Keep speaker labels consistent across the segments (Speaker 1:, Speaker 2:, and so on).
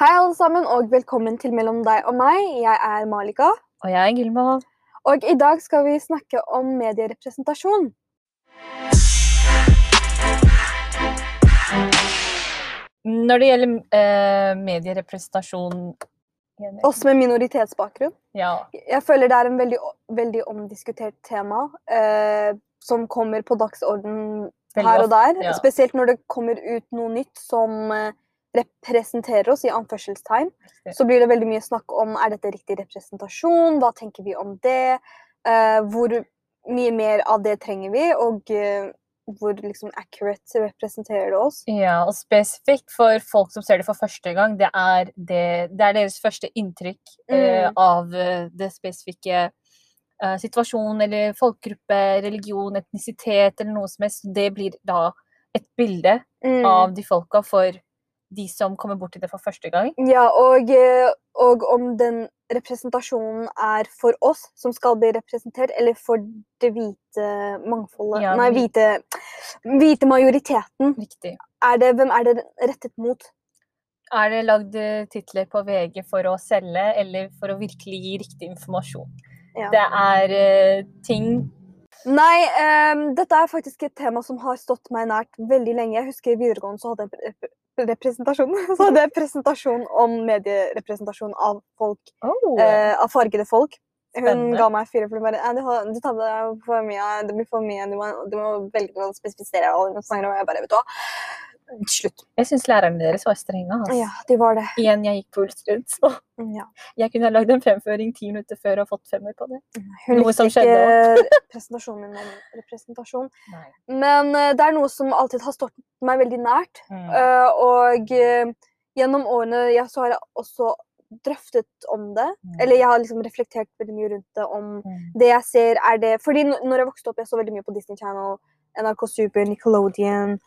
Speaker 1: Hei, alle sammen, og velkommen til Mellom deg og meg. Jeg er Malika,
Speaker 2: Og jeg er Gylma.
Speaker 1: og i dag skal vi snakke om medierepresentasjon.
Speaker 2: Når det gjelder eh, medierepresentasjon
Speaker 1: Oss med minoritetsbakgrunn.
Speaker 2: Ja.
Speaker 1: Jeg føler det er en veldig, veldig omdiskutert tema eh, som kommer på dagsorden
Speaker 2: veldig
Speaker 1: her og
Speaker 2: ofte.
Speaker 1: der.
Speaker 2: ja.
Speaker 1: Spesielt når det kommer ut noe nytt som eh, representerer oss, i anførselstegn. så blir det veldig mye snakk om er dette riktig representasjon, hva tenker vi om det, eh, hvor mye mer av det trenger vi, og eh, hvor liksom accurate representerer det oss.
Speaker 2: Ja, og spesifikt for folk som ser det for første gang, det er, det, det er deres første inntrykk eh,
Speaker 1: Mm.
Speaker 2: av eh, det spesifikke eh, situasjonen eller folkegruppe, religion, etnisitet eller noe som helst. Det blir da et bilde
Speaker 1: Mm.
Speaker 2: av de folka for de som kommer bort til det for første gang.
Speaker 1: Ja, og, eh, og om den representasjonen er for oss som skal bli representert, eller for det hvite mangfoldet
Speaker 2: Ja,
Speaker 1: Nei,
Speaker 2: hvit-
Speaker 1: hvite, hvite majoriteten.
Speaker 2: Riktig.
Speaker 1: Er det, hvem er det rettet mot?
Speaker 2: Er det lagd eh, titler på VG for å selge, eller for å virkelig gi riktig informasjon?
Speaker 1: Ja.
Speaker 2: Det er eh, ting
Speaker 1: Nei, ehm, dette er faktisk et tema som har stått meg nært veldig lenge. Jeg husker i videregående så hadde jeg en pre- pre- representasjon, så hadde jeg en presentasjon om medierepresentasjon av folk,
Speaker 2: eh,
Speaker 1: eh, av fargede folk. Hun
Speaker 2: Spennende.
Speaker 1: ga meg fire, for hun bare «Ja, du, har, du tar på deg for mye, det blir for mye, du må, du må velge å spesifisere alle de sangene, og jeg bare, vet du hva? Slutt.
Speaker 2: Jeg syns lærerne deres var strenge. Altså.
Speaker 1: Ja, de var det. Mm,
Speaker 2: Igjen, jeg gikk på Ulstrud, så
Speaker 1: Ja.
Speaker 2: jeg kunne ha lagd en fremføring ti minutter før og fått femmer på det.
Speaker 1: Hun
Speaker 2: Noe som
Speaker 1: likte ikke presentasjonen min om representasjon.
Speaker 2: Nei.
Speaker 1: Men eh, det er noe som alltid har stått meg veldig nært,
Speaker 2: Mm.
Speaker 1: Eh, og eh, gjennom årene jeg så har jeg også drøftet om det. Eller jeg har liksom reflektert veldig mye rundt det om
Speaker 2: Mm.
Speaker 1: det jeg ser er det Fordi n- når jeg vokste opp, jeg så veldig mye på Disney Channel, NRK Super, Nickelodeon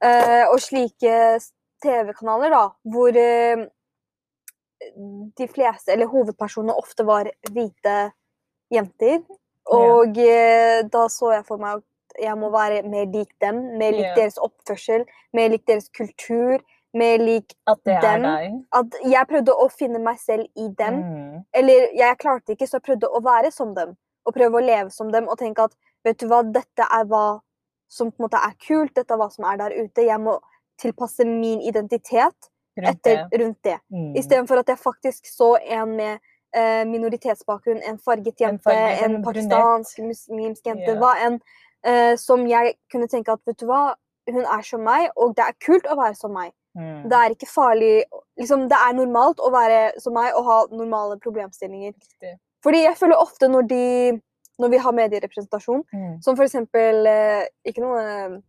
Speaker 1: eh, og slike s- TV-kanaler, da, hvor eh, de fleste, eller hovedpersonene, ofte var hvite jenter. Og eh, da så jeg for meg at jeg må være mer lik dem, mer lik
Speaker 2: Ja.
Speaker 1: deres oppførsel, mer lik deres kultur, mer lik
Speaker 2: At det
Speaker 1: dem,
Speaker 2: er deg.
Speaker 1: At jeg prøvde å finne meg selv i dem.
Speaker 2: Mm.
Speaker 1: Eller jeg klarte ikke, så jeg prøvde å være som dem. Og prøve å leve som dem og tenke at vet du hva, dette er hva som på en måte er kult, dette er hva som er der ute. Jeg må tilpasse min identitet
Speaker 2: Rundt
Speaker 1: etter,
Speaker 2: det.
Speaker 1: rundt det.
Speaker 2: Mm.
Speaker 1: Istedenfor at jeg faktisk så en med eh, minoritetsbakgrunn, en farget
Speaker 2: En
Speaker 1: jente, en,
Speaker 2: farget, en
Speaker 1: pakistansk, muslimsk jente,
Speaker 2: Ja.
Speaker 1: hva enn, eh, som jeg kunne tenke at vet du hva, hun er som meg, og det er kult å være som meg.
Speaker 2: Mm.
Speaker 1: Det er ikke farlig liksom, Det er normalt å være som meg og ha normale problemstillinger.
Speaker 2: Riktig.
Speaker 1: Fordi jeg føler ofte når de Når vi har medierepresentasjon,
Speaker 2: Mm.
Speaker 1: som for eksempel eh, Ikke noe eh,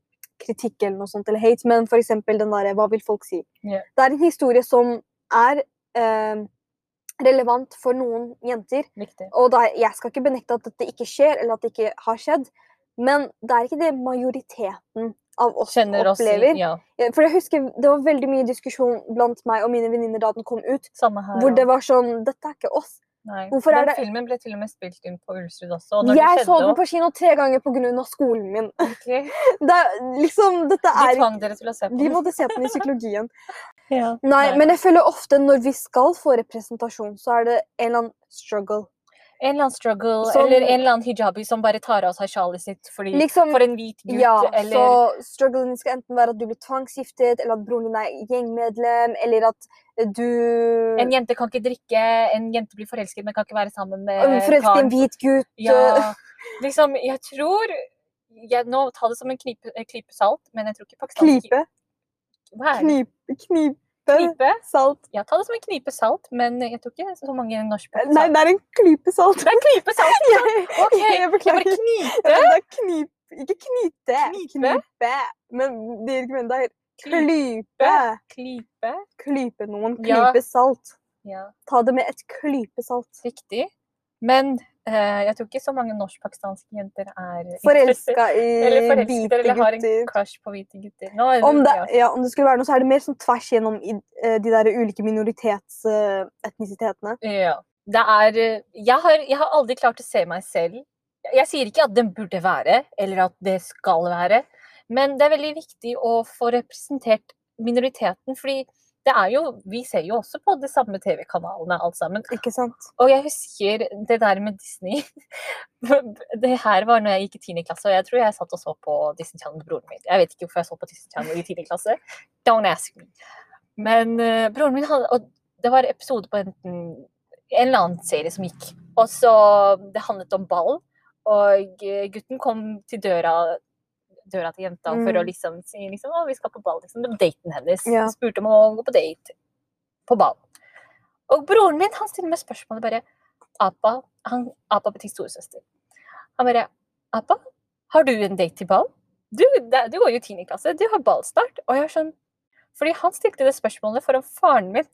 Speaker 1: kritikk eller noe sånt eller hate, men for eksempel den derre Hva vil folk si?
Speaker 2: Ja.
Speaker 1: Det er en historie som er eh, relevant for noen jenter.
Speaker 2: Riktig.
Speaker 1: Og da, jeg skal ikke benekte at dette ikke skjer, eller at det ikke har skjedd, men det er ikke det majoriteten av oss
Speaker 2: Kjenner oss
Speaker 1: opplever.
Speaker 2: i Ja,
Speaker 1: Ja, For jeg husker Det var veldig mye diskusjon blant meg og mine venninner da den kom ut,
Speaker 2: samme her.
Speaker 1: hvor
Speaker 2: og-
Speaker 1: det var sånn Dette er ikke oss.
Speaker 2: Nei.
Speaker 1: Hvorfor er
Speaker 2: den
Speaker 1: det-
Speaker 2: filmen ble til og med spilt inn på Ulstrud også. Og når
Speaker 1: jeg
Speaker 2: det
Speaker 1: så den
Speaker 2: skjedde,
Speaker 1: på kino tre ganger pga. skolen min.
Speaker 2: ordentlig,
Speaker 1: Det er, liksom, dette
Speaker 2: de
Speaker 1: er
Speaker 2: tvang dere til å se på
Speaker 1: Vi
Speaker 2: den.
Speaker 1: måtte se på den i psykologien.
Speaker 2: Ja.
Speaker 1: Nei, men jeg føler ofte når vi skal få representasjon, så er det en eller annen struggle.
Speaker 2: En eller annen struggle,
Speaker 1: Som-
Speaker 2: eller en eller annen hijabi som bare tar av seg sjalet sitt fordi,
Speaker 1: Liksom,
Speaker 2: for en hvit gutt,
Speaker 1: ja,
Speaker 2: eller
Speaker 1: så strugglen din skal enten være at du blir tvangsgiftet, eller at broren din er gjengmedlem, eller at du
Speaker 2: En jente kan ikke drikke, en jente blir forelsket, men kan ikke være sammen med
Speaker 1: forelsker en hvit gutt.
Speaker 2: Ja, liksom, jeg tror jeg, Nå ta det som en knipe, eh, klype salt, men jeg tror ikke pakistansk
Speaker 1: Knipe.
Speaker 2: Hva er det?
Speaker 1: Knipe. Knipe.
Speaker 2: Knipe?
Speaker 1: Salt.
Speaker 2: Ja, ta det som en knipe salt, men jeg tror ikke så mange norske
Speaker 1: Nei, det er en klype salt.
Speaker 2: Det er en klype salt!
Speaker 1: Jeg,
Speaker 2: Ok,
Speaker 1: jeg
Speaker 2: Jeg
Speaker 1: beklager.
Speaker 2: bare
Speaker 1: Ja,
Speaker 2: knipe.
Speaker 1: men det er knip, ikke knite.
Speaker 2: Knipe?
Speaker 1: Knipe. Men det gjør ikke men det er
Speaker 2: Klype.
Speaker 1: klype.
Speaker 2: klype.
Speaker 1: Klype noen.
Speaker 2: Ja.
Speaker 1: Klype salt.
Speaker 2: Ja,
Speaker 1: Ta det med et klype salt.
Speaker 2: riktig. Men eh, jeg tror ikke så mange norsk-pakistanske jenter er interessert-
Speaker 1: Forelska
Speaker 2: Eller
Speaker 1: i
Speaker 2: forelsket,
Speaker 1: Eh, hvite
Speaker 2: eller har en
Speaker 1: gutter.
Speaker 2: crush på hvite gutter. Nå er
Speaker 1: Om det,
Speaker 2: ja.
Speaker 1: ja, om det skulle være noe, så er det mer sånn tvers gjennom i, eh, de der ulike minoritetsetnisitetene.
Speaker 2: ja. Det er eh, jeg har, jeg har aldri klart å se meg selv. Jeg- Jeg sier ikke at den burde være, eller at det skal være, men det er veldig viktig å få representert minoriteten, fordi det er jo, vi ser jo også på de samme TV-kanalene alt sammen.
Speaker 1: Ikke sant?
Speaker 2: Og jeg husker det der med Disney. Det her var når jeg gikk i 10. klasse, og jeg tror jeg satt og så på Disney Channel med broren min. Jeg vet ikke hvorfor jeg så på Disney Channel i 10. klasse. Don't ask me. Men eh, broren min hadde Og det var episode på enten en eller annen serie som gikk. Og så Det handlet om ball, og eh, gutten kom til døra døra til jenta for å
Speaker 1: Mm.
Speaker 2: liksom si liksom, å, vi skal på ball. Liksom. Det var daten hennes.
Speaker 1: Ja.
Speaker 2: Spurte om å gå på date på ball. Og broren min han stiller meg spørsmålet bare Apa, han, Apa betyr storesøster. Han bare Apa, har du en date til ball? Du, det- du går jo i 10. klasse, du har ballstart. Og jeg er sånn Fordi han stilte det spørsmålet foran faren min.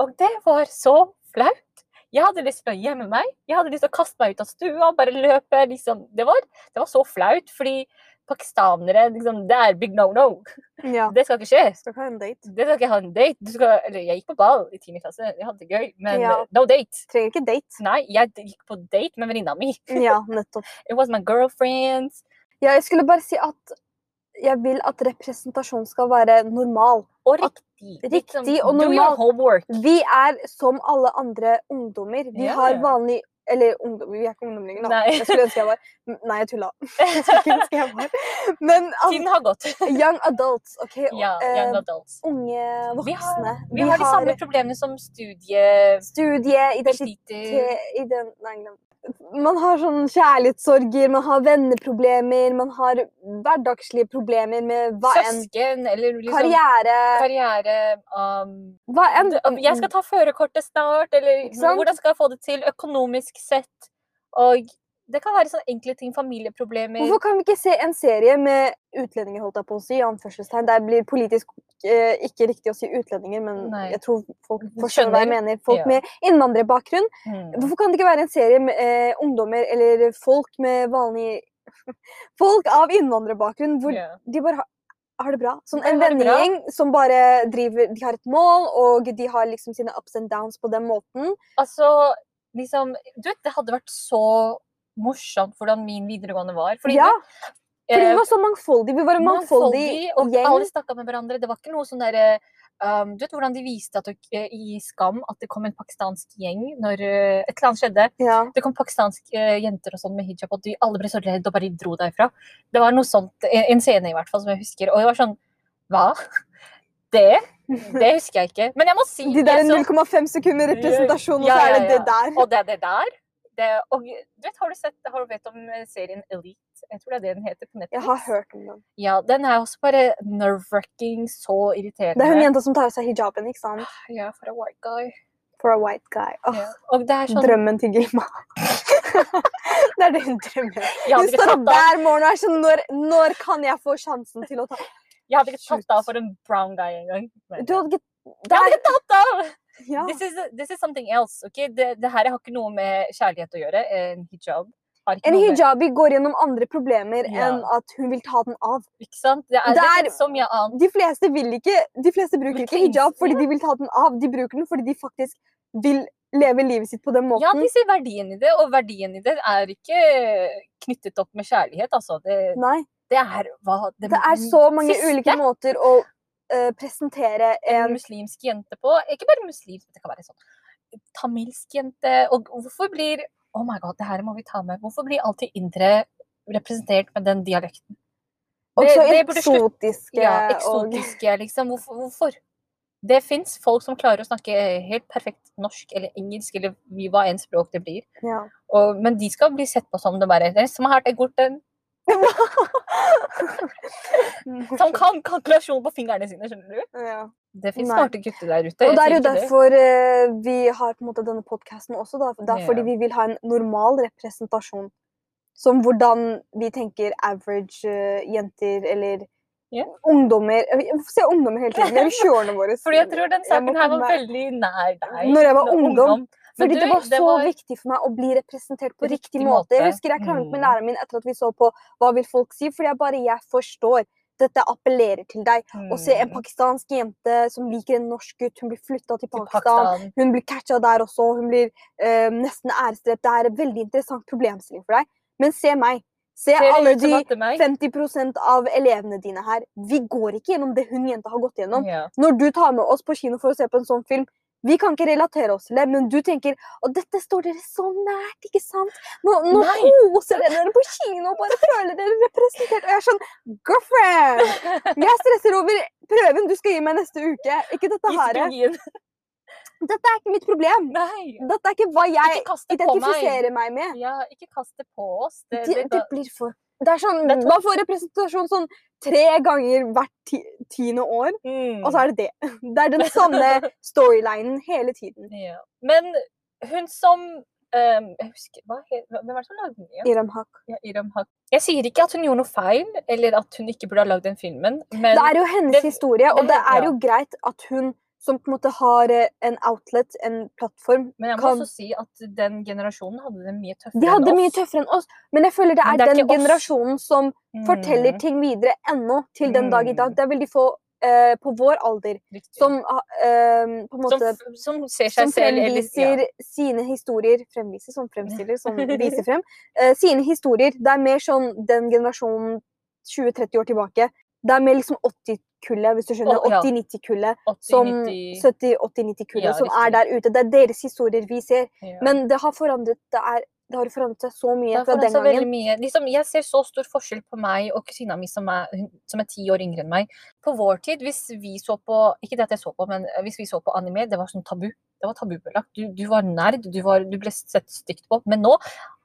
Speaker 2: Og det var så flaut. Jeg hadde lyst til å gjemme meg. Jeg hadde lyst til å kaste meg ut av stua, bare løpe. liksom. Det var, det var så flaut, fordi pakistanere liksom, Det er big no no.
Speaker 1: Ja.
Speaker 2: Det skal ikke skje.
Speaker 1: Skal ikke ha en date.
Speaker 2: Det skal ikke ha en date. Du skal, eller, jeg gikk på ball i 10. klasse, jeg hadde det gøy, men
Speaker 1: Ja.
Speaker 2: eh, no date.
Speaker 1: Trenger ikke date.
Speaker 2: Nei, jeg d- gikk på date med venninna mi.
Speaker 1: Ja, nettopp.
Speaker 2: It was my girlfriend.
Speaker 1: Ja, jeg skulle bare si at jeg vil at representasjon skal være normal.
Speaker 2: Og riktig.
Speaker 1: Riktig
Speaker 2: Liksom,
Speaker 1: og
Speaker 2: Do your
Speaker 1: normal.
Speaker 2: homework.
Speaker 1: Vi er som alle andre ungdommer. Vi
Speaker 2: Ja.
Speaker 1: har vanlig Eller ungdom, vi er ikke ungdom lenger, da.
Speaker 2: Nei.
Speaker 1: Jeg skulle ønske jeg var Nei, jeg tulla. Jeg skulle ønske jeg var. Men
Speaker 2: Tiden har gått.
Speaker 1: altså, young adults, OK?
Speaker 2: ja,
Speaker 1: eh,
Speaker 2: young adults.
Speaker 1: unge
Speaker 2: Vi har-
Speaker 1: voksne.
Speaker 2: Vi, har de samme problemene som studiebesliter.
Speaker 1: studieidentitet i den, nei, glem. Man har sånn kjærlighetssorger, man har venneproblemer, man har hverdagslige problemer med hva enn.
Speaker 2: Søsken eller liksom
Speaker 1: Karriere.
Speaker 2: karriere um,
Speaker 1: Hva enn.
Speaker 2: om Jeg skal ta førerkortet snart, eller
Speaker 1: Ikke sant?
Speaker 2: hvordan skal jeg få det til økonomisk sett? Og det kan være sånne enkle ting. Familieproblemer.
Speaker 1: Hvorfor kan vi ikke se en serie med utlendinger, holdt jeg på å si, i anførselstegn. Det blir politisk eh, ikke riktig å si utlendinger, men
Speaker 2: Nei.
Speaker 1: jeg tror folk
Speaker 2: Du
Speaker 1: forstår hva jeg
Speaker 2: skjønner.
Speaker 1: mener. Folk
Speaker 2: Ja.
Speaker 1: med innvandrerbakgrunn.
Speaker 2: Mm.
Speaker 1: Hvorfor kan det ikke være en serie med eh, ungdommer eller folk med vanlig Folk av innvandrerbakgrunn hvor
Speaker 2: Ja.
Speaker 1: de bare har, har det bra. Sånn
Speaker 2: De
Speaker 1: en
Speaker 2: har det bra.
Speaker 1: vennegjeng som bare driver De har et mål, og de har liksom sine ups and downs på den måten.
Speaker 2: Altså, liksom Du vet, det hadde vært så morsomt hvordan min videregående var. Fordi,
Speaker 1: ja,
Speaker 2: du,
Speaker 1: fordi
Speaker 2: eh,
Speaker 1: vi var så mangfoldige. Vi var en mangfoldig,
Speaker 2: og
Speaker 1: gjeng.
Speaker 2: alle snakka med hverandre. Det var ikke noe sånn derre um, Du vet hvordan de viste at, dok- eh, i Skam at det kom en pakistansk gjeng når eh, et eller annet skjedde?
Speaker 1: Ja.
Speaker 2: Det kom pakistanske eh, jenter og sånn med hijab, og de alle ble så redde og bare dro derfra. Det var noe sånt, en en scene i hvert fall, som jeg husker. Og jeg var sånn Hva? Det? Det husker jeg ikke. Men jeg må si
Speaker 1: De der
Speaker 2: jeg så-
Speaker 1: 0,5 sekunder representasjon, og
Speaker 2: Ja,
Speaker 1: så er
Speaker 2: ja,
Speaker 1: det
Speaker 2: ja.
Speaker 1: det der.
Speaker 2: Og det er det der. Det, og, du vet, har du sett har du vet om eh, serien Elite? Jeg tror det er det den heter på Netflix.
Speaker 1: Jeg har hørt om den.
Speaker 2: Ja, Den er også bare nerve-wracking, så irriterende.
Speaker 1: Det er hun jenta som tar av seg hijaben, ikke sant?
Speaker 2: Ja, for a white guy.
Speaker 1: For a white guy. Åh,
Speaker 2: Ja. Og det er sånn
Speaker 1: Drømmen til Gilma. det er det hun drømmer.
Speaker 2: jeg
Speaker 1: Hun
Speaker 2: hadde,
Speaker 1: står
Speaker 2: ikke
Speaker 1: opp
Speaker 2: tatt av,
Speaker 1: hver morgen og er sånn når, når kan jeg få sjansen til å ta
Speaker 2: jeg hadde ikke
Speaker 1: Shoot.
Speaker 2: tatt av for en brown guy engang. Men-
Speaker 1: Du hadde ikke
Speaker 2: Jeg hadde
Speaker 1: Der!
Speaker 2: ikke tatt av!
Speaker 1: Ja.
Speaker 2: This is, this is something else. ok? Det, det her har ikke noe med kjærlighet å gjøre. En hijab. Har ikke
Speaker 1: En
Speaker 2: noe med-
Speaker 1: hijabi går gjennom andre problemer
Speaker 2: Ja.
Speaker 1: enn at hun vil ta den av.
Speaker 2: Ikke sant? Det er, det
Speaker 1: Der-
Speaker 2: er så mye annet.
Speaker 1: De fleste, vil ikke, de fleste bruker
Speaker 2: Vil
Speaker 1: ikke
Speaker 2: ikke
Speaker 1: hijab
Speaker 2: innse
Speaker 1: fordi de vil ta den av. De bruker den fordi de faktisk vil leve livet sitt på den måten.
Speaker 2: Ja, de ser verdien i det, og verdien i det er ikke knyttet opp med kjærlighet, altså. Det,
Speaker 1: Nei.
Speaker 2: det er hva det,
Speaker 1: Det er så mange
Speaker 2: siste
Speaker 1: ulike måter å eh, presentere
Speaker 2: en
Speaker 1: en
Speaker 2: muslimsk jente på Ikke bare muslimsk, det kan være sånn tamilsk jente. Og hvorfor blir Oh my god, det her må vi ta med. Hvorfor blir alltid indre representert med den dialekten?
Speaker 1: Også
Speaker 2: det burde slutte.
Speaker 1: eksotiske
Speaker 2: Ja,
Speaker 1: og
Speaker 2: eksotiske, liksom. Hvorfor? hvorfor? Det fins folk som klarer å snakke eh, helt perfekt norsk eller engelsk eller vi- hva enn språk det blir.
Speaker 1: ja.
Speaker 2: Og, men de skal bli sett på som det bare det er smart, det er godt, den som kan kalkulasjon på fingrene sine, skjønner du?
Speaker 1: ja.
Speaker 2: Det fins
Speaker 1: Nei.
Speaker 2: smarte gutter der ute.
Speaker 1: Og
Speaker 2: jeg
Speaker 1: det er
Speaker 2: sier
Speaker 1: jo
Speaker 2: ikke det.
Speaker 1: derfor eh, vi har på en måte denne podkasten også. Da. Det er
Speaker 2: Ja.
Speaker 1: fordi vi vil ha en normal representasjon. Som hvordan vi tenker average eh, jenter eller
Speaker 2: Ja.
Speaker 1: ungdommer Jeg vil- Hvorfor sier jeg ungdommer hele tiden? Det er jo sjårene våre.
Speaker 2: Fordi jeg tror den
Speaker 1: Jeg må
Speaker 2: saken her var
Speaker 1: komme-
Speaker 2: veldig nær deg.
Speaker 1: Når jeg var
Speaker 2: Nå-
Speaker 1: ungdom.
Speaker 2: Men
Speaker 1: Fordi
Speaker 2: du,
Speaker 1: det var så
Speaker 2: var-
Speaker 1: viktig for meg å bli representert på riktig,
Speaker 2: Riktig
Speaker 1: måte. Jeg
Speaker 2: måte.
Speaker 1: husker jeg kranglet med
Speaker 2: Mm.
Speaker 1: læreren min etter at vi så på Hva vil folk si? Fordi jeg bare Jeg forstår. Dette appellerer til deg. Å se en
Speaker 2: Mm,
Speaker 1: pakistansk jente som liker en norsk gutt, hun blir flytta til
Speaker 2: til
Speaker 1: Pakistan. Hun blir catcha der også. Hun blir eh, nesten æresdrept. Det er en veldig interessant problemstilling for deg. Men se meg. Se
Speaker 2: Ser det
Speaker 1: alle
Speaker 2: ut som
Speaker 1: de
Speaker 2: at det er meg?
Speaker 1: 50 av elevene dine her. Vi går ikke gjennom det hun jenta har gått gjennom.
Speaker 2: Ja.
Speaker 1: Når du tar med oss på kino for å se på en sånn film, vi kan ikke relatere oss til det, men du tenker at dette står dere så nært, ikke sant? Nå, nå
Speaker 2: Nei.
Speaker 1: koser dere dere på kino og bare føler dere representert. Og jeg er sånn Girlfriend! Jeg stresser over prøven du skal gi meg neste uke. Ikke dette
Speaker 2: I
Speaker 1: her.
Speaker 2: skuggen.
Speaker 1: Dette er ikke mitt problem.
Speaker 2: Nei!
Speaker 1: Dette er ikke hva jeg
Speaker 2: Ikke kast det på meg.
Speaker 1: identifiserer meg med.
Speaker 2: Ja, ikke kast det på oss. Det,
Speaker 1: Det,
Speaker 2: det,
Speaker 1: det blir for det er sånn,
Speaker 2: Det er
Speaker 1: Man får representasjon sånn tre ganger hvert ti, tiende år,
Speaker 2: Mm.
Speaker 1: og så er det det. Det er den samme storylinen hele tiden.
Speaker 2: ja. Men hun som ehm, Jeg husker hva, he- Hvem var det som lagde den igjen?
Speaker 1: Iram Haq.
Speaker 2: Ja, Iram Haq. Jeg sier ikke at hun gjorde noe feil, eller at hun ikke burde ha lagd den filmen, men
Speaker 1: Det er jo hennes
Speaker 2: det-
Speaker 1: historie, og
Speaker 2: det-
Speaker 1: det er
Speaker 2: ja.
Speaker 1: jo greit at hun som på en måte har eh, en outlet, en plattform
Speaker 2: Men jeg må
Speaker 1: kan-
Speaker 2: også si at den generasjonen hadde det mye tøffere
Speaker 1: De hadde det mye tøffere enn oss, men jeg føler det
Speaker 2: Men
Speaker 1: er,
Speaker 2: det er
Speaker 1: den
Speaker 2: ikke oss.
Speaker 1: generasjonen som
Speaker 2: Mm,
Speaker 1: forteller ting videre ennå til den dag i dag.
Speaker 2: Mm.
Speaker 1: Det er veldig få eh, på vår alder
Speaker 2: riktig.
Speaker 1: som eh, på en
Speaker 2: som,
Speaker 1: måte
Speaker 2: f- som ser seg
Speaker 1: som
Speaker 2: selv eller-
Speaker 1: fremviser sine historier Fremviser som fremstiller, som viser frem. eh, sine historier. Det er mer sånn den generasjonen 20-30 år tilbake. Det er mer liksom 80-kullet, hvis du skjønner.
Speaker 2: Å, ja.
Speaker 1: 80-90-kullet.
Speaker 2: ja, 80,
Speaker 1: Som
Speaker 2: 90,
Speaker 1: 70-80-90-kullet
Speaker 2: Ja,
Speaker 1: som er
Speaker 2: riktig.
Speaker 1: der ute. Det er deres historier vi ser.
Speaker 2: ja.
Speaker 1: Men det har forandret det, er, det har forandret seg så mye
Speaker 2: Det er
Speaker 1: fra den
Speaker 2: forandret seg veldig
Speaker 1: gangen.
Speaker 2: mye. Liksom, jeg ser så stor forskjell på meg og kusina mi som er, hun- som er ti år yngre enn meg. På vår tid, hvis vi så på Ikke det at jeg så på, men eh, hvis vi så på anime, det var sånn tabu. Det var tabubelagt. Du, du var nerd, du, var, du ble sett stygt på. Men nå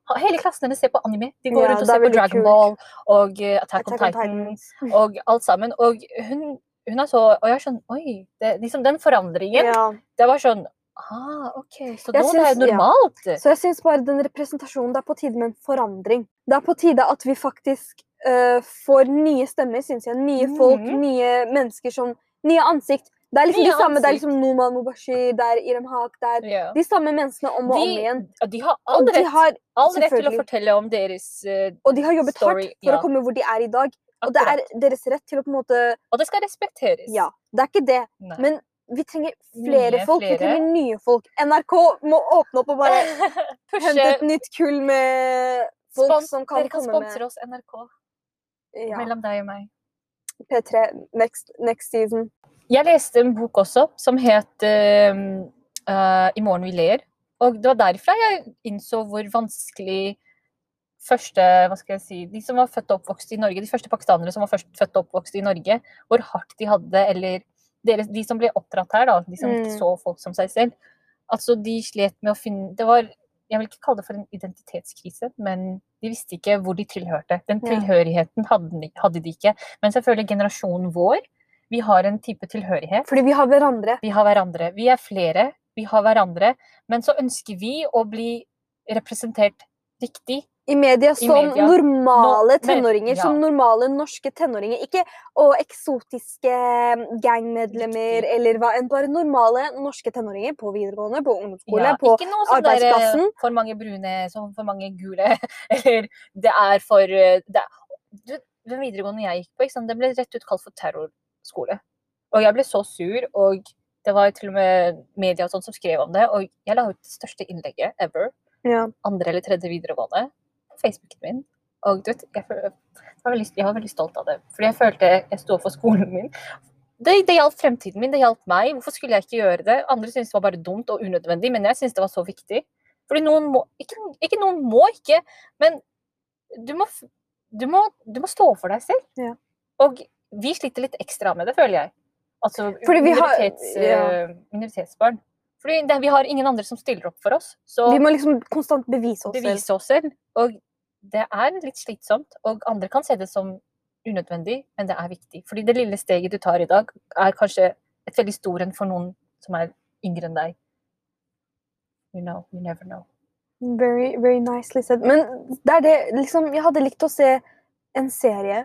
Speaker 2: ha- Hele klassen hennes ser på anime. De går
Speaker 1: Ja,
Speaker 2: rundt og
Speaker 1: det er
Speaker 2: ser på
Speaker 1: veldig
Speaker 2: Dragon
Speaker 1: kult.
Speaker 2: Ball og eh, Attack,
Speaker 1: Attack on
Speaker 2: on Titan
Speaker 1: Titans.
Speaker 2: og alt sammen. Og hun, hun er så Og jeg er sånn Oi! Det, liksom den forandringen.
Speaker 1: Ja.
Speaker 2: Det var sånn Ah, OK. Så
Speaker 1: Jeg
Speaker 2: nå det er
Speaker 1: synes- ja.
Speaker 2: det normalt.
Speaker 1: Så jeg syns bare den representasjonen Det er på tide med en forandring. Det er på tide at vi faktisk eh, får nye stemmer, syns jeg. Nye folk,
Speaker 2: Mhm.
Speaker 1: nye mennesker som Nye ansikt. Det er liksom
Speaker 2: Nye
Speaker 1: de samme. Det er
Speaker 2: ansikt.
Speaker 1: liksom Noman Mubashir, det er Irem Haq, det er
Speaker 2: Ja.
Speaker 1: de samme menneskene om og om
Speaker 2: De-
Speaker 1: igjen.
Speaker 2: Og de har
Speaker 1: Og
Speaker 2: all
Speaker 1: de
Speaker 2: rett,
Speaker 1: har,
Speaker 2: all rett til å
Speaker 1: selvfølgelig.
Speaker 2: fortelle om deres eh,
Speaker 1: og de har jobbet
Speaker 2: Story,
Speaker 1: hardt for
Speaker 2: ja.
Speaker 1: å komme hvor de er i dag. Og det
Speaker 2: akkurat.
Speaker 1: er deres rett til å på en måte
Speaker 2: Og det skal respekteres.
Speaker 1: Ja, det er ikke det.
Speaker 2: Nei.
Speaker 1: Men vi trenger flere
Speaker 2: Nye,
Speaker 1: folk. Vi
Speaker 2: flere.
Speaker 1: trenger nye folk. NRK må åpne opp og bare hente
Speaker 2: Pushe
Speaker 1: et nytt kull med folk
Speaker 2: Spons-
Speaker 1: som kan,
Speaker 2: Dere kan
Speaker 1: komme med
Speaker 2: sponsre oss, NRK,
Speaker 1: ja.
Speaker 2: mellom deg og meg.
Speaker 1: P3 next, next season.
Speaker 2: Jeg leste en bok også som het eh, eh, I morgen vi ler. Og det var derfra jeg innså hvor vanskelig første, hva skal jeg si, De som var født og oppvokst i Norge, de første pakistanere som var først født og oppvokst i Norge, hvor hardt de hadde, eller deres, de som ble oppdratt her, da, de som ikke
Speaker 1: Mm.
Speaker 2: så folk som seg selv. Altså, de slet med å finne Det var Jeg vil ikke kalle det for en identitetskrise, men de visste ikke hvor de tilhørte. Den
Speaker 1: Ja.
Speaker 2: tilhørigheten hadde de, hadde de ikke. Men selvfølgelig generasjonen vår vi har en type tilhørighet.
Speaker 1: Fordi vi har hverandre.
Speaker 2: Vi har hverandre. Vi er flere. Vi har hverandre. Men så ønsker vi å bli representert riktig.
Speaker 1: I media som
Speaker 2: media.
Speaker 1: normale
Speaker 2: Nå- men-
Speaker 1: tenåringer.
Speaker 2: ja.
Speaker 1: Som normale norske tenåringer. Ikke å, eksotiske gangmedlemmer
Speaker 2: Riktig.
Speaker 1: eller hva enn. Bare normale norske tenåringer på videregående, på ungdomsskole,
Speaker 2: Ja,
Speaker 1: på
Speaker 2: ikke noe sånn der,
Speaker 1: arbeidsplassen.
Speaker 2: For mange brune, som for mange gule. Eller det er for eh, det er, du, Den videregående jeg gikk på, ikke sant? den ble rett ut kalt for terrorskole. Og jeg ble så sur, og det var til og med media og sånt som skrev om det. Og jeg la ut det største innlegget ever.
Speaker 1: Ja.
Speaker 2: andre eller tredje videregående på Facebooken min. Og du vet, jeg, føl- jeg, var veldig, jeg var veldig stolt av det, fordi jeg følte jeg sto opp for skolen min. Det, det hjalp fremtiden min, det hjalp meg. Hvorfor skulle jeg ikke gjøre det? Andre syntes det var bare dumt og unødvendig, men jeg syntes det var så viktig. Fordi noen må ikke, ikke noen må ikke, men du må, f- du må, du må stå for deg selv.
Speaker 1: Ja.
Speaker 2: Og vi sliter litt ekstra med det, føler jeg. Altså
Speaker 1: Fordi vi har-
Speaker 2: minoritets,
Speaker 1: ja.
Speaker 2: eh, minoritetsbarn. Fordi det, vi har ingen andre som stiller opp for oss. Så
Speaker 1: Vi må liksom konstant bevise oss selv.
Speaker 2: bevise oss selv. Og det er litt slitsomt, og andre kan se det som unødvendig, men det er viktig. Fordi det lille steget du tar i dag, er kanskje et veldig stor en for noen som er yngre enn deg. You know, you never know.
Speaker 1: Very, very nicely said. Men det er det, liksom, jeg hadde likt å se en serie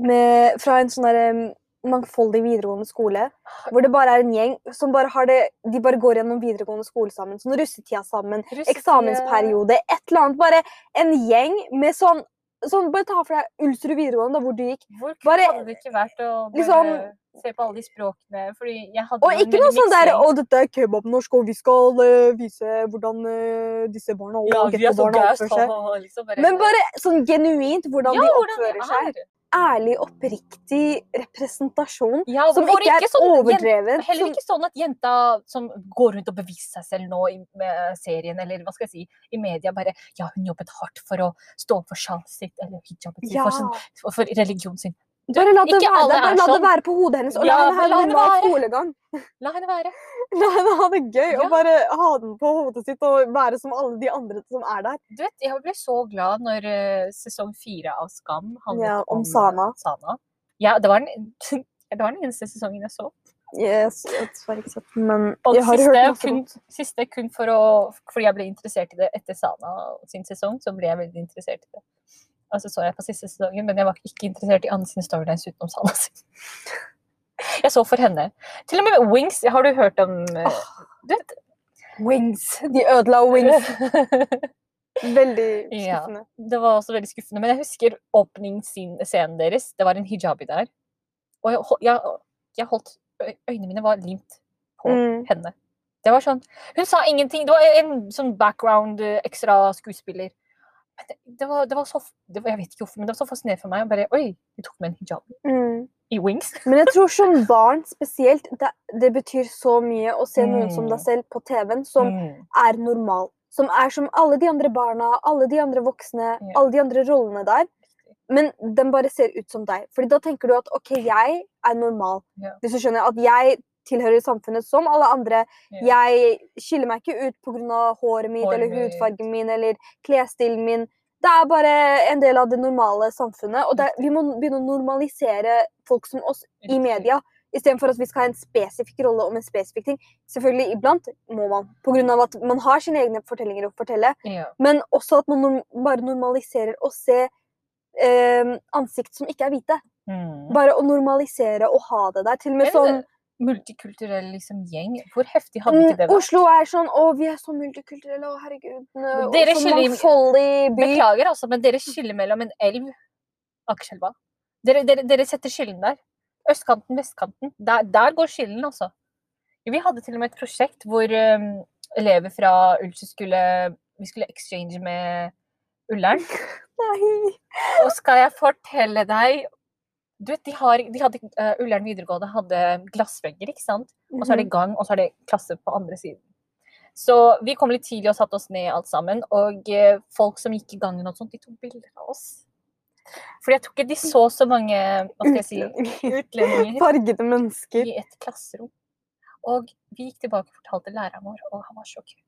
Speaker 1: med, fra en sånn der em, mangfoldig videregående skole, hvor det bare er en gjeng som bare har det De bare går gjennom videregående skole sammen. Sånn russetida sammen, eksamensperiode, et eller annet. Bare en gjeng med sånn sånn, Bare ta for deg Ulsrud videregående, da, hvor du gikk.
Speaker 2: Hvor kult
Speaker 1: Bare-
Speaker 2: hadde det ikke vært å bare
Speaker 1: liksom-
Speaker 2: se på alle de språkene? Fordi jeg hadde
Speaker 1: Og
Speaker 2: en
Speaker 1: ikke
Speaker 2: veldig
Speaker 1: noe sånn
Speaker 2: mixed
Speaker 1: der
Speaker 2: range.
Speaker 1: 'Å, dette er kebabnorsk, og vi skal eh, vise hvordan eh, disse barna og
Speaker 2: Ja, vi er
Speaker 1: gettobarna
Speaker 2: så gaust,
Speaker 1: oppfører
Speaker 2: ha,
Speaker 1: seg'.
Speaker 2: ha, ha, liksom bare,
Speaker 1: Men bare sånn genuint hvordan
Speaker 2: Ja,
Speaker 1: de
Speaker 2: hvordan de
Speaker 1: oppfører seg.
Speaker 2: er.
Speaker 1: Ærlig, oppriktig representasjon
Speaker 2: Ja,
Speaker 1: som
Speaker 2: hvor
Speaker 1: ikke er
Speaker 2: sånn jen-
Speaker 1: overdrevet.
Speaker 2: Heller
Speaker 1: som-
Speaker 2: ikke sånn at jenta som går rundt og beviser seg selv nå i med serien, eller hva skal jeg si, i media, bare Ja, hun jobbet hardt for å stå opp for sjalet sitt, eller hijaben sin,
Speaker 1: ja.
Speaker 2: for, sin, for- for religionen sin.
Speaker 1: Bare la det
Speaker 2: sånn? ikke
Speaker 1: være,
Speaker 2: alle
Speaker 1: der, bare
Speaker 2: er
Speaker 1: la det
Speaker 2: sånn.
Speaker 1: være på hodet hennes, og la
Speaker 2: Ja,
Speaker 1: henne ha
Speaker 2: bare la
Speaker 1: en
Speaker 2: henne
Speaker 1: normal
Speaker 2: være.
Speaker 1: skolegang.
Speaker 2: La henne være.
Speaker 1: La henne ha det gøy,
Speaker 2: Ja.
Speaker 1: og bare ha den på hodet sitt og være som alle de andre som er der.
Speaker 2: Du vet, jeg ble så glad når eh, sesong fire av Skam handlet
Speaker 1: Ja, om
Speaker 2: om, eh,
Speaker 1: Sana.
Speaker 2: Sana. Ja, det var, den, det var den eneste sesongen jeg så.
Speaker 1: Yes, jeg har ikke sett den, men
Speaker 2: Og
Speaker 1: jeg har
Speaker 2: siste,
Speaker 1: hørt masse
Speaker 2: kun,
Speaker 1: godt.
Speaker 2: siste kun for å, fordi jeg ble interessert i det etter Sana sin sesong, så ble jeg veldig interessert i det. Og så så jeg på siste sesongen, men jeg var ikke interessert i andre sine storylines utenom Sana sin. Jeg så for henne. Til og med Wings, har du hørt om eh, du vet, Wings.
Speaker 1: De ødela Wings veldig
Speaker 2: Ja.
Speaker 1: skuffende.
Speaker 2: det var også veldig skuffende, men jeg husker åpningsscenen deres. Det var en hijabi der. Og jeg, hol- jeg, jeg holdt øy- Øynene mine var limt på
Speaker 1: Mm.
Speaker 2: henne. Det var sånn, Hun sa ingenting. Det var en sånn background eh, ekstra skuespiller. Men det, det, var, det var så f- det var, Jeg vet ikke hvorfor, men det var så fascinerende for meg. å Bare, Oi, de tok med en hijab
Speaker 1: Mm.
Speaker 2: i Wings.
Speaker 1: Men jeg tror som barn spesielt, det, det betyr så mye å se noen som
Speaker 2: Mm.
Speaker 1: deg selv på TV-en som er normal. Som er som alle de andre barna, alle de andre voksne,
Speaker 2: Ja.
Speaker 1: alle de andre rollene der. Men den bare ser ut som deg. Fordi da tenker du at OK, jeg er normal.
Speaker 2: Ja.
Speaker 1: Hvis du skjønner at jeg tilhører samfunnet som alle andre.
Speaker 2: Ja.
Speaker 1: Jeg skiller meg ikke ut pga. håret mitt
Speaker 2: Håret
Speaker 1: eller
Speaker 2: mitt.
Speaker 1: hudfargen min eller klesstilen min. Det er bare en del av det normale samfunnet. Og det, vi må begynne å normalisere folk som oss i
Speaker 2: Riktig.
Speaker 1: media. Istedenfor at vi skal ha en spesifikk rolle om en spesifikk ting. Selvfølgelig iblant må man, pga. at man har sine egne fortellinger å fortelle.
Speaker 2: Ja.
Speaker 1: Men også at man norm bare normaliserer å se eh, ansikt som ikke er hvite.
Speaker 2: Mm.
Speaker 1: Bare å normalisere og ha det der. Til og med
Speaker 2: En eh,
Speaker 1: sånn
Speaker 2: multikulturell liksom, gjeng. Hvor heftig hadde ikke det
Speaker 1: mm,
Speaker 2: vært?
Speaker 1: Oslo er sånn Å, vi er så multikulturelle, å herregud. nø-
Speaker 2: Dere
Speaker 1: og så
Speaker 2: skiller-
Speaker 1: mangfoldig by.
Speaker 2: Beklager, altså, men dere skiller mellom en elv Akerselva. Dere, dere, dere setter skillen der. Østkanten, vestkanten. Der, der går skillen, altså. Vi hadde til og med et prosjekt hvor um, elever fra Ulsø skulle Vi skulle exchange med Ullern.
Speaker 1: Nei.
Speaker 2: Og skal jeg fortelle deg Du vet, de har, de hadde, eh, Ullern videregående hadde glassvegger, ikke sant? Og så er det gang, og så er det klasse på andre siden. Så vi kom litt tidlig og satte oss ned alt sammen. Og eh, folk som gikk i gangen og sånt, de tok bilder av oss. Fordi jeg tror ikke de så så mange hva skal jeg si,
Speaker 1: Utlendinger.
Speaker 2: utlendinger
Speaker 1: Fargede mennesker.
Speaker 2: i et klasserom. Og vi gikk tilbake og fortalte læreren vår, og han var sjokkert.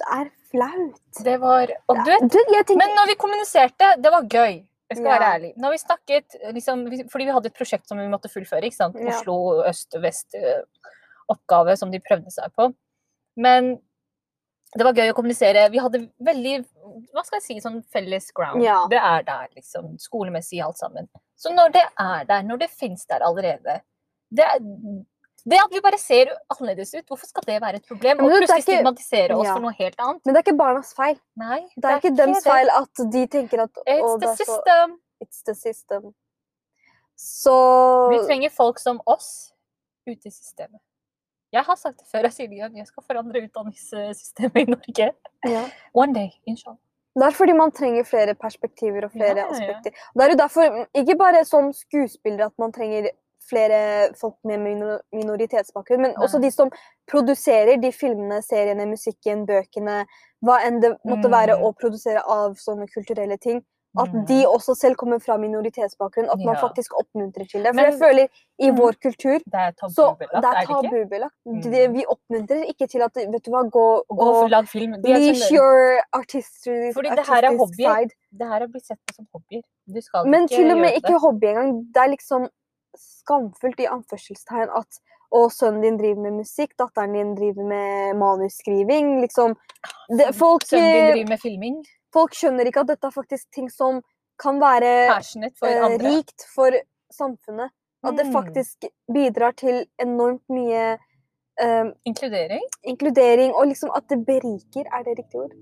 Speaker 1: Det er flaut.
Speaker 2: Det var, og du vet,
Speaker 1: Du, jeg tenker
Speaker 2: men når vi kommuniserte, det var gøy. Jeg skal være
Speaker 1: Ja.
Speaker 2: ærlig. Når vi snakket, liksom, vi- Fordi vi hadde et prosjekt som vi måtte fullføre. ikke sant?
Speaker 1: Ja.
Speaker 2: Oslo øst-vest-oppgave som de prøvde seg på. Men det var gøy å kommunisere. Vi hadde veldig hva skal jeg si, sånn felles ground.
Speaker 1: Ja.
Speaker 2: Det er der, liksom. Skolemessig alt sammen. Så når det er der, når det fins der allerede det, er- det at vi bare ser annerledes ut, hvorfor skal det være et problem?
Speaker 1: Men
Speaker 2: Og
Speaker 1: du, det er
Speaker 2: plutselig
Speaker 1: ikke-
Speaker 2: stigmatisere oss
Speaker 1: Ja.
Speaker 2: for noe helt annet?
Speaker 1: Men det er ikke barnas feil.
Speaker 2: Nei.
Speaker 1: Det er ikke dems
Speaker 2: det.
Speaker 1: feil at de tenker at
Speaker 2: It's
Speaker 1: «Å, det
Speaker 2: the
Speaker 1: er så-
Speaker 2: system.
Speaker 1: It's the system. Så
Speaker 2: Vi trenger folk som oss ute i systemet. Jeg har sagt det før, jeg sier det igjen, jeg skal forandre utdanningssystemet i Norge.
Speaker 1: ja.
Speaker 2: One day, inshallah.
Speaker 1: Det er fordi man trenger flere perspektiver og flere
Speaker 2: Ja, ja, ja.
Speaker 1: aspekter. Det er jo derfor, ikke bare som skuespillere, at man trenger flere folk med minor- minoritetsbakgrunn, men også de som produserer de filmene, seriene, musikken, bøkene, hva enn det måtte være
Speaker 2: Mm.
Speaker 1: å produsere av sånne kulturelle ting. At
Speaker 2: Mm.
Speaker 1: de også selv kommer fra minoritetsbakgrunn, at man
Speaker 2: Ja.
Speaker 1: faktisk oppmuntrer til det. For
Speaker 2: Men-
Speaker 1: jeg føler i
Speaker 2: Mm.
Speaker 1: vår kultur
Speaker 2: Det er
Speaker 1: så
Speaker 2: tabubelagt,
Speaker 1: det er
Speaker 2: sånn er det ikke?
Speaker 1: tabubelagt.
Speaker 2: Mm.
Speaker 1: Det- Vi oppmuntrer ikke til at vet du hva, gå
Speaker 2: Å gå for lag film. De er
Speaker 1: Leash
Speaker 2: sånn-
Speaker 1: your artistry,
Speaker 2: Fordi det her er
Speaker 1: artistisk
Speaker 2: hobbyer.
Speaker 1: side.
Speaker 2: det her er blitt sett på som hobbyer. Du skal
Speaker 1: Men
Speaker 2: ikke
Speaker 1: til og med
Speaker 2: gjøre
Speaker 1: ikke hobby engang. Det er liksom skamfullt i anførselstegn at å, sønnen din driver med musikk, datteren din driver med manusskriving. Liksom. Det, folk,
Speaker 2: Sønnen din
Speaker 1: eh,
Speaker 2: driver med filming.
Speaker 1: folk skjønner ikke at dette er faktisk ting som kan være
Speaker 2: Passionate for
Speaker 1: eh,
Speaker 2: andre.
Speaker 1: rikt for samfunnet. At det
Speaker 2: Mm.
Speaker 1: faktisk bidrar til enormt mye eh,
Speaker 2: Inkludering.
Speaker 1: inkludering, og liksom at det beriker, er det riktig ord?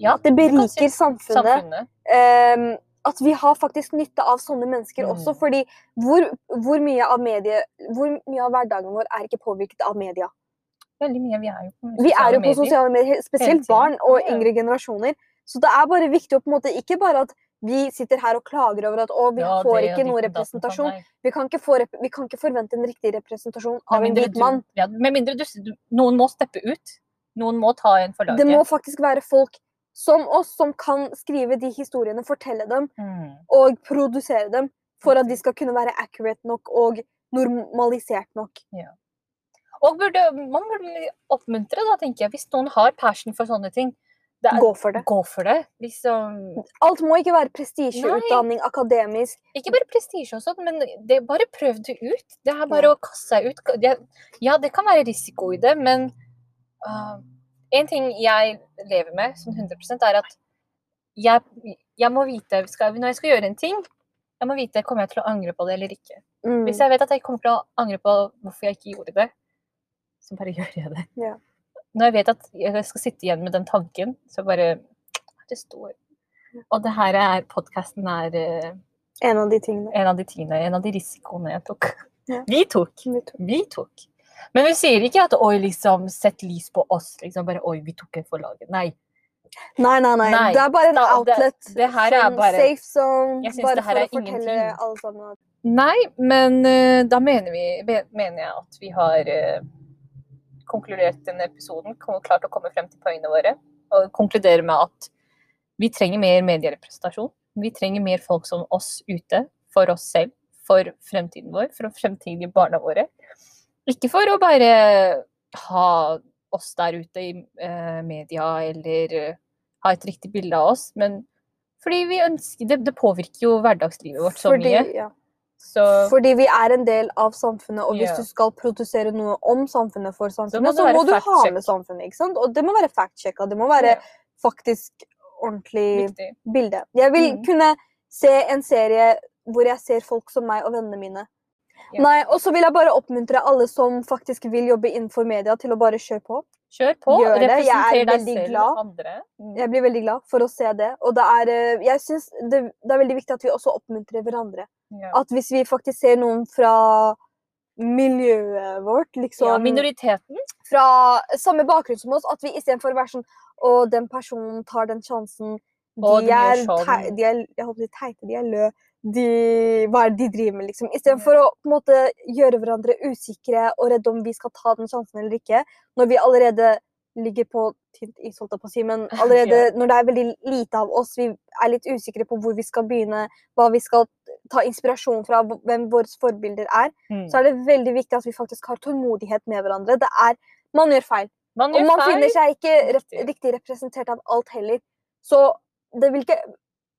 Speaker 2: Ja,
Speaker 1: At det
Speaker 2: du kan si
Speaker 1: beriker samfunnet.
Speaker 2: samfunnet.
Speaker 1: Ehm, at vi har faktisk nytte av sånne mennesker
Speaker 2: Mm.
Speaker 1: også. fordi hvor, hvor, mye av medie, hvor mye av hverdagen vår er ikke påvirket av media?
Speaker 2: Veldig mye. Vi er jo på
Speaker 1: Vi er jo på
Speaker 2: medier.
Speaker 1: sosiale medier, spesielt
Speaker 2: tiden.
Speaker 1: barn og
Speaker 2: Ja.
Speaker 1: yngre generasjoner. Så det er bare viktig å på en måte ikke bare at vi sitter her og klager over at å, vi
Speaker 2: Ja,
Speaker 1: får
Speaker 2: det er
Speaker 1: ikke noe
Speaker 2: ditten datten, sånn,
Speaker 1: representasjon.
Speaker 2: nei.
Speaker 1: Vi kan, ikke få rep vi kan ikke forvente en riktig representasjon av
Speaker 2: Med
Speaker 1: en
Speaker 2: mindre
Speaker 1: hvit
Speaker 2: du-
Speaker 1: mann.
Speaker 2: Ja, med mindre du, du Noen må steppe ut. Noen må ta en for laget.
Speaker 1: Det må faktisk være folk som oss som kan skrive de historiene, fortelle dem
Speaker 2: Mm.
Speaker 1: og produsere dem for at de skal kunne være accurate nok og normalisert nok.
Speaker 2: Og burde, man burde oppmuntre, da, tenker jeg. Hvis noen har passion for sånne ting, det er,
Speaker 1: Gå for det.
Speaker 2: gå for det. Liksom,
Speaker 1: Alt må ikke være prestisje,
Speaker 2: Nei.
Speaker 1: utdanning, akademisk.
Speaker 2: ikke bare prestisje og sånn, men det, bare prøv det ut. Det er bare
Speaker 1: Ja.
Speaker 2: å kaste seg ut. Det, ja, det kan være risiko i det, men ah, en ting jeg lever med sånn 100 er at jeg, jeg må vite skal, Når jeg skal gjøre en ting, jeg må vite kommer jeg til å angre på det eller ikke.
Speaker 1: Mm.
Speaker 2: Hvis jeg vet at jeg kommer til å angre på hvorfor jeg ikke gjorde det, så bare gjør jeg det.
Speaker 1: Ja.
Speaker 2: Når jeg vet at jeg skal sitte igjen med den tanken, så bare Det står. Og det her er podkasten er eh,
Speaker 1: En av de tingene.
Speaker 2: en av de tingene, en av de risikoene jeg tok.
Speaker 1: Ja.
Speaker 2: Vi tok.
Speaker 1: som vi tok.
Speaker 2: Vi tok. Men vi sier ikke at 'oi, liksom, sett lys på oss'. liksom bare 'oi, vi tok en for laget'. Nei.
Speaker 1: Nei, nei, nei,
Speaker 2: Nei,
Speaker 1: Det er bare en
Speaker 2: da- det-
Speaker 1: outlet.
Speaker 2: det her er
Speaker 1: sånn
Speaker 2: bare-
Speaker 1: Safe zone.
Speaker 2: Jeg syns
Speaker 1: Bare
Speaker 2: det her
Speaker 1: for
Speaker 2: er
Speaker 1: å fortelle
Speaker 2: ingenting.
Speaker 1: alle sammen at
Speaker 2: Nei, men eh, da mener, vi, be- mener jeg at vi har eh, konkludert denne episoden, kom- klart å komme frem til poengene våre, og konkludere med at vi trenger mer medierepresentasjon. Vi trenger mer folk som oss ute, for oss selv, for fremtiden vår, for fremtidige barna våre. Ikke for å bare ha oss der ute i eh, media eller eh, ha et riktig bilde av oss, men fordi vi ønsker Det, det påvirker jo hverdagslivet vårt så
Speaker 1: fordi,
Speaker 2: mye.
Speaker 1: ja.
Speaker 2: Så
Speaker 1: fordi vi er en del av samfunnet, og hvis
Speaker 2: Ja.
Speaker 1: du skal produsere noe om samfunnet for samfunnet,
Speaker 2: det
Speaker 1: så
Speaker 2: være
Speaker 1: må du ha
Speaker 2: fact-check.
Speaker 1: med samfunnet. ikke sant? Og det må være fact-checka. Det må være
Speaker 2: Ja.
Speaker 1: faktisk ordentlig
Speaker 2: viktig.
Speaker 1: bilde. Jeg vil
Speaker 2: Mm.
Speaker 1: kunne se en serie hvor jeg ser folk som meg og vennene mine.
Speaker 2: Ja.
Speaker 1: Nei, Og så vil jeg bare oppmuntre alle som faktisk vil jobbe innenfor media, til å bare kjøre på.
Speaker 2: Kjør på.
Speaker 1: Gjør det. Jeg er
Speaker 2: Representer deg
Speaker 1: veldig
Speaker 2: selv og
Speaker 1: glad.
Speaker 2: andre. Mm.
Speaker 1: Jeg blir veldig glad for å se det. Og det er, eh, jeg synes det, det er veldig viktig at vi også oppmuntrer hverandre.
Speaker 2: Ja.
Speaker 1: At hvis vi faktisk ser noen fra miljøet vårt,
Speaker 2: ja,
Speaker 1: liksom
Speaker 2: minoriteten.
Speaker 1: fra samme bakgrunn som oss, at vi istedenfor å være sånn Å, den personen tar den sjansen. De,
Speaker 2: Å, den gjør
Speaker 1: er,
Speaker 2: sånn.
Speaker 1: tei, de er Jeg holdt på å si teite, de er lø. De, hva er det de driver med, liksom?
Speaker 2: Mm.
Speaker 1: Istedenfor å på en måte gjøre hverandre usikre og redde om vi skal ta den sjansen eller ikke, når vi allerede ligger på tynt is, holdt jeg på å si, men allerede når det er veldig lite av oss, vi er litt usikre på hvor vi skal begynne, hva vi skal ta inspirasjon fra, hvem våre forbilder er
Speaker 2: Mm.
Speaker 1: så er det veldig viktig at vi faktisk har tålmodighet med hverandre. Det er, Man gjør feil.
Speaker 2: Man
Speaker 1: Og
Speaker 2: gjør
Speaker 1: man
Speaker 2: feil.
Speaker 1: finner seg ikke rep
Speaker 2: Riktig.
Speaker 1: riktig representert av alt heller. Så det vil ikke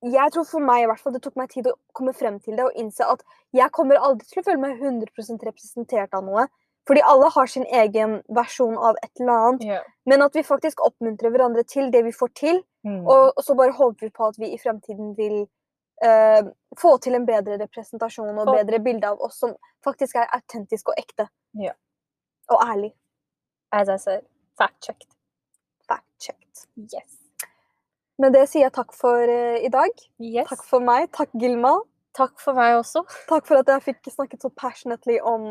Speaker 1: Jeg tror for meg i hvert fall det tok meg tid å komme frem til det og innse at jeg kommer aldri til å føle meg 100 representert av noe. Fordi alle har sin egen versjon av et eller annet.
Speaker 2: Ja.
Speaker 1: Men at vi faktisk oppmuntrer hverandre til det vi får til,
Speaker 2: Mm.
Speaker 1: og, og så bare håper vi på at vi i fremtiden vil eh, få til en bedre representasjon og
Speaker 2: Få-
Speaker 1: bedre bilde av oss som faktisk er autentisk og ekte.
Speaker 2: Ja.
Speaker 1: Og ærlig.
Speaker 2: As I said, fact-checked.
Speaker 1: Fact-checked.
Speaker 2: Yes.
Speaker 1: Med det sier jeg takk for eh, i dag.
Speaker 2: yes.
Speaker 1: Takk for meg. Takk, Gilma.
Speaker 2: Takk for meg også.
Speaker 1: Takk for at jeg fikk snakket så passionately om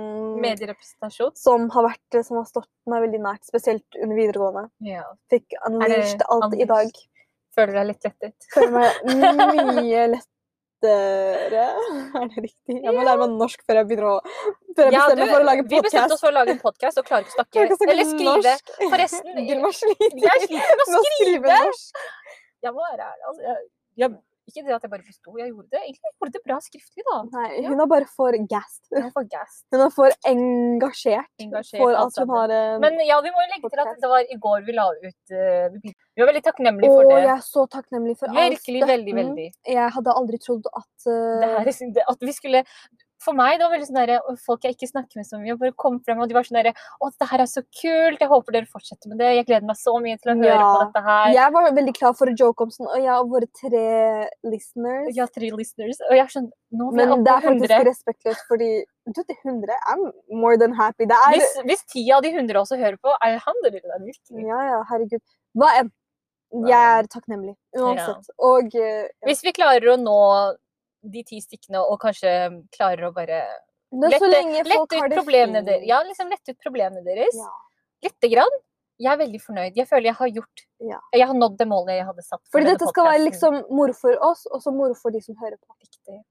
Speaker 2: Medierepresentasjon.
Speaker 1: som har, vært, eh, som har stått meg veldig nært, spesielt under videregående.
Speaker 2: Ja.
Speaker 1: Fikk unleashed alt i dag.
Speaker 2: unleashed? Føler deg litt lettet.
Speaker 1: Føler meg mye lettere. Er det riktig? Jeg må lære meg norsk før jeg begynner å før jeg
Speaker 2: Ja,
Speaker 1: bestemmer
Speaker 2: du,
Speaker 1: meg for å lage
Speaker 2: vi bestemte oss
Speaker 1: podkast.
Speaker 2: for å lage en podkast og klarer ikke å snakke, eller skrive. Forresten,
Speaker 1: Gilma sliter
Speaker 2: jeg sliter med
Speaker 1: med
Speaker 2: å
Speaker 1: å skrive norsk.
Speaker 2: Jeg må være ærlig. Altså, jeg, jeg, ikke det at jeg bare forsto, jeg gjorde det. Egentlig jeg gjorde det bra skriftlig, da.
Speaker 1: Nei, hun er bare for gassed.
Speaker 2: Jeg var gassed,
Speaker 1: Hun er for engasjert,
Speaker 2: engasjert,
Speaker 1: for
Speaker 2: alt
Speaker 1: at hun
Speaker 2: sammen.
Speaker 1: har en
Speaker 2: Men ja, vi må jo legge til at
Speaker 1: sånn Podcast.
Speaker 2: det var i går vi la ut eh, vi begynte- Vi var veldig takknemlige
Speaker 1: Og
Speaker 2: for
Speaker 1: jeg
Speaker 2: det.
Speaker 1: er så takknemlig for all
Speaker 2: Virkelig, veldig,
Speaker 1: støtten.
Speaker 2: veldig.
Speaker 1: Jeg hadde aldri trodd at
Speaker 2: Det
Speaker 1: uh,
Speaker 2: her, er sånn- det- at vi skulle For meg det var veldig sånn derre og Folk jeg ikke snakker med så mye, bare kom frem, og de var sånn derre Å, det her er så kult, jeg håper dere fortsetter med det. Jeg gleder meg så mye til å høre på
Speaker 1: Ja.
Speaker 2: dette her.
Speaker 1: Jeg var veldig klar for å joke om sånn Og jeg og våre tre listeners.
Speaker 2: Vi har tre listeners, og jeg skjønner Nå vil jeg
Speaker 1: Men
Speaker 2: opp
Speaker 1: det er
Speaker 2: på 100.
Speaker 1: faktisk respektløst, fordi du vet, 100 I'm more than happy. Det er
Speaker 2: Hvis, hvis ti av de 100 også hører på, alhamdulillah, virkelig.
Speaker 1: Ja, ja, herregud. Hva enn. Jeg er takknemlig uansett. Og eh, ja.
Speaker 2: Hvis vi klarer å nå de ti stykkene, og kanskje klarer å bare
Speaker 1: Men så
Speaker 2: lette,
Speaker 1: lenge folk
Speaker 2: lette
Speaker 1: har
Speaker 2: ut
Speaker 1: det
Speaker 2: problemene
Speaker 1: fint.
Speaker 2: deres. Ja, liksom lette ut problemene deres.
Speaker 1: Ja.
Speaker 2: Lite grann. Jeg er veldig fornøyd. Jeg føler jeg har gjort
Speaker 1: Ja.
Speaker 2: Jeg har nådd det målet jeg hadde satt. for
Speaker 1: Fordi
Speaker 2: denne
Speaker 1: dette skal være
Speaker 2: podcasten.
Speaker 1: liksom moro for oss, og så moro for de som hører på.
Speaker 2: Riktig.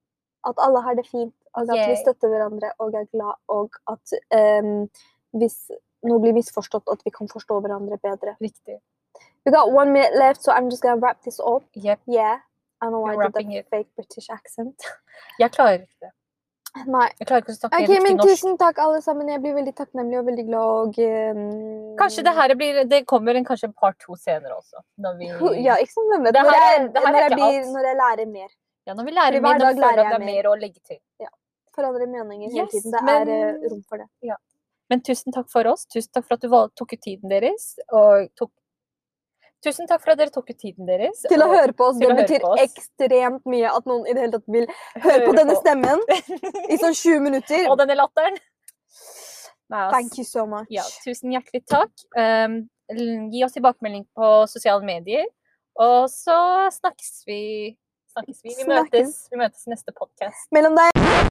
Speaker 1: At alle har det fint, og at vi
Speaker 2: Yay.
Speaker 1: støtter hverandre og er glad, og at em, hvis noe blir misforstått, at vi kan forstå hverandre bedre.
Speaker 2: Riktig.
Speaker 1: We got one minute left, so I'm just gonna wrap this up.
Speaker 2: Yep.
Speaker 1: Yeah. I don't know why
Speaker 2: You're
Speaker 1: I did
Speaker 2: wrapping
Speaker 1: that
Speaker 2: it.
Speaker 1: fake British accent.
Speaker 2: Jeg klarer ikke det.
Speaker 1: Nei.
Speaker 2: Jeg klarer ikke å snakke
Speaker 1: Ok,
Speaker 2: riktig
Speaker 1: men
Speaker 2: norsk.
Speaker 1: tusen takk, alle sammen. Jeg blir veldig takknemlig og veldig glad. Og, ehm, em,
Speaker 2: Kanskje det her blir Det kommer en kanskje en part to senere også. Når vi,
Speaker 1: Ja, ikke sant? Hvem vet?
Speaker 2: Det her
Speaker 1: Når
Speaker 2: er-
Speaker 1: jeg,
Speaker 2: det her er
Speaker 1: når, jeg
Speaker 2: ikke
Speaker 1: blir,
Speaker 2: alt.
Speaker 1: når jeg lærer mer.
Speaker 2: ja, når vi
Speaker 1: Fordi
Speaker 2: lærer
Speaker 1: hver
Speaker 2: mer, når
Speaker 1: dag
Speaker 2: vi
Speaker 1: lærer
Speaker 2: føler at det
Speaker 1: jeg
Speaker 2: er
Speaker 1: mer.
Speaker 2: mer å legge til.
Speaker 1: Forandrer meninger hele
Speaker 2: Yes,
Speaker 1: tiden. Det
Speaker 2: men-
Speaker 1: er eh, rom for det.
Speaker 2: Men tusen takk for oss. Tusen takk for at du valg- tok ut tiden deres. Og tok Tusen takk for at dere tok ut tiden deres.
Speaker 1: Til å
Speaker 2: og
Speaker 1: høre på oss.
Speaker 2: til
Speaker 1: Det
Speaker 2: å høre
Speaker 1: betyr
Speaker 2: på oss.
Speaker 1: ekstremt mye at noen i det hele tatt vil høre på denne stemmen i sånn 20 minutter.
Speaker 2: og denne latteren. Nei, ass.
Speaker 1: Thank you so much.
Speaker 2: Ja, tusen hjertelig takk. Um, l- gi oss tilbakemelding på sosiale medier. Og så snakkes vi. Snakkes vi. Vi
Speaker 1: Snakkes.
Speaker 2: møtes, vi møtes i neste podkast.
Speaker 1: Mellom deg